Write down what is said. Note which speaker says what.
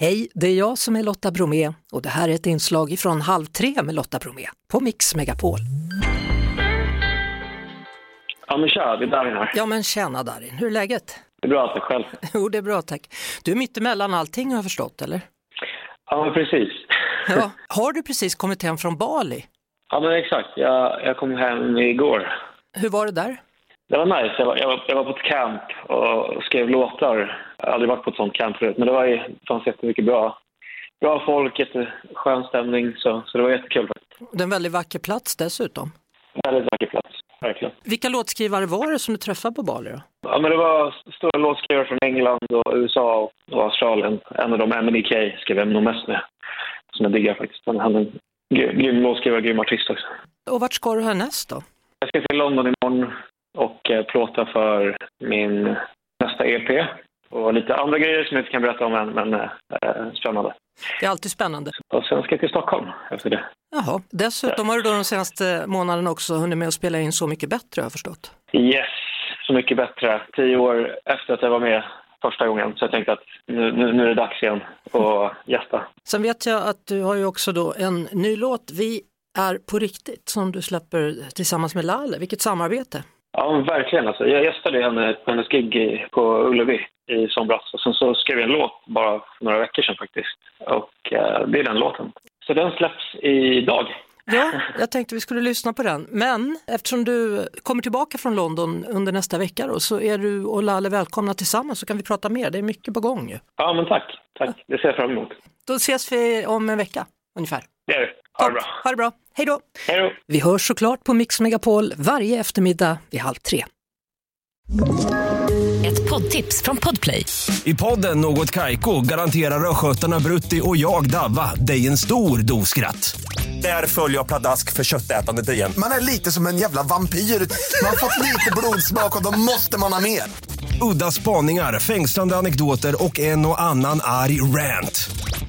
Speaker 1: Hej, det är jag som är Lotta Bromé och det här är ett inslag från Halv tre med Lotta Bromé på Mix Megapol.
Speaker 2: Ja men tja, det är Darin här.
Speaker 1: Ja men tjena Darin, hur är läget?
Speaker 2: Det är bra att du själv.
Speaker 1: Jo det är bra tack. Du är mittemellan allting har jag förstått eller?
Speaker 2: Ja men precis.
Speaker 1: Ja. Har du precis kommit hem från Bali?
Speaker 2: Ja men exakt, jag, jag kom hem igår.
Speaker 1: Hur var det där?
Speaker 2: Det var nice, jag var, jag, var, jag var på ett camp och skrev låtar. Jag har aldrig varit på ett sånt camp förut men det var ju, det fanns jättemycket bra. Bra folk, jätteskön stämning så, så det var jättekul. faktiskt.
Speaker 1: Det är en väldigt vacker plats dessutom.
Speaker 2: Väldigt vacker plats, verkligen.
Speaker 1: Vilka låtskrivare var det som du träffade på Bali då?
Speaker 2: Ja men det var stora låtskrivare från England och USA och Australien. En av dem, Emily Kay, skrev jag nog mest med. Som jag diggar faktiskt. Men han är en gry- grym låtskrivare och grym artist också.
Speaker 1: Och vart ska du härnäst då?
Speaker 2: Jag ska till London imorgon och eh, plåta för min nästa EP. Och lite andra grejer som jag inte kan berätta om än, men eh, spännande.
Speaker 1: Det är alltid spännande.
Speaker 2: Och sen ska jag till Stockholm efter det.
Speaker 1: Jaha, dessutom har du då de senaste månaderna också hunnit med att spela in Så mycket bättre har jag förstått.
Speaker 2: Yes, så mycket bättre. Tio år efter att jag var med första gången så jag tänkte att nu, nu, nu är det dags igen att gästa.
Speaker 1: Sen vet jag att du har ju också då en ny låt, Vi är på riktigt, som du släpper tillsammans med Lalle. Vilket samarbete!
Speaker 2: Ja, men verkligen. Alltså. Jag gästade henne på hennes gig i- på Ullevi i somras och sen så skrev jag en låt bara för några veckor sedan faktiskt. Och eh, det är den låten. Så den släpps idag.
Speaker 1: Ja, jag tänkte vi skulle lyssna på den, men eftersom du kommer tillbaka från London under nästa vecka då, så är du och Lalle välkomna tillsammans så kan vi prata mer, det är mycket på gång ju.
Speaker 2: Ja, men tack. Tack. Det ser jag fram emot.
Speaker 1: Då ses vi om en vecka ungefär.
Speaker 2: Det gör vi. Ha det bra.
Speaker 1: Topp. ha det bra, hej då!
Speaker 2: Hej då.
Speaker 1: Vi hörs såklart på Mix Megapol varje eftermiddag vid halv tre.
Speaker 3: Ett poddtips från Podplay.
Speaker 4: I podden Något Kaiko garanterar östgötarna Brutti och jag, Davva, dig en stor dos skratt. Där följer jag pladask för köttätandet igen.
Speaker 5: Man är lite som en jävla vampyr. Man har fått lite blodsmak och då måste man ha mer.
Speaker 4: Udda spaningar, fängslande anekdoter och en och annan arg rant.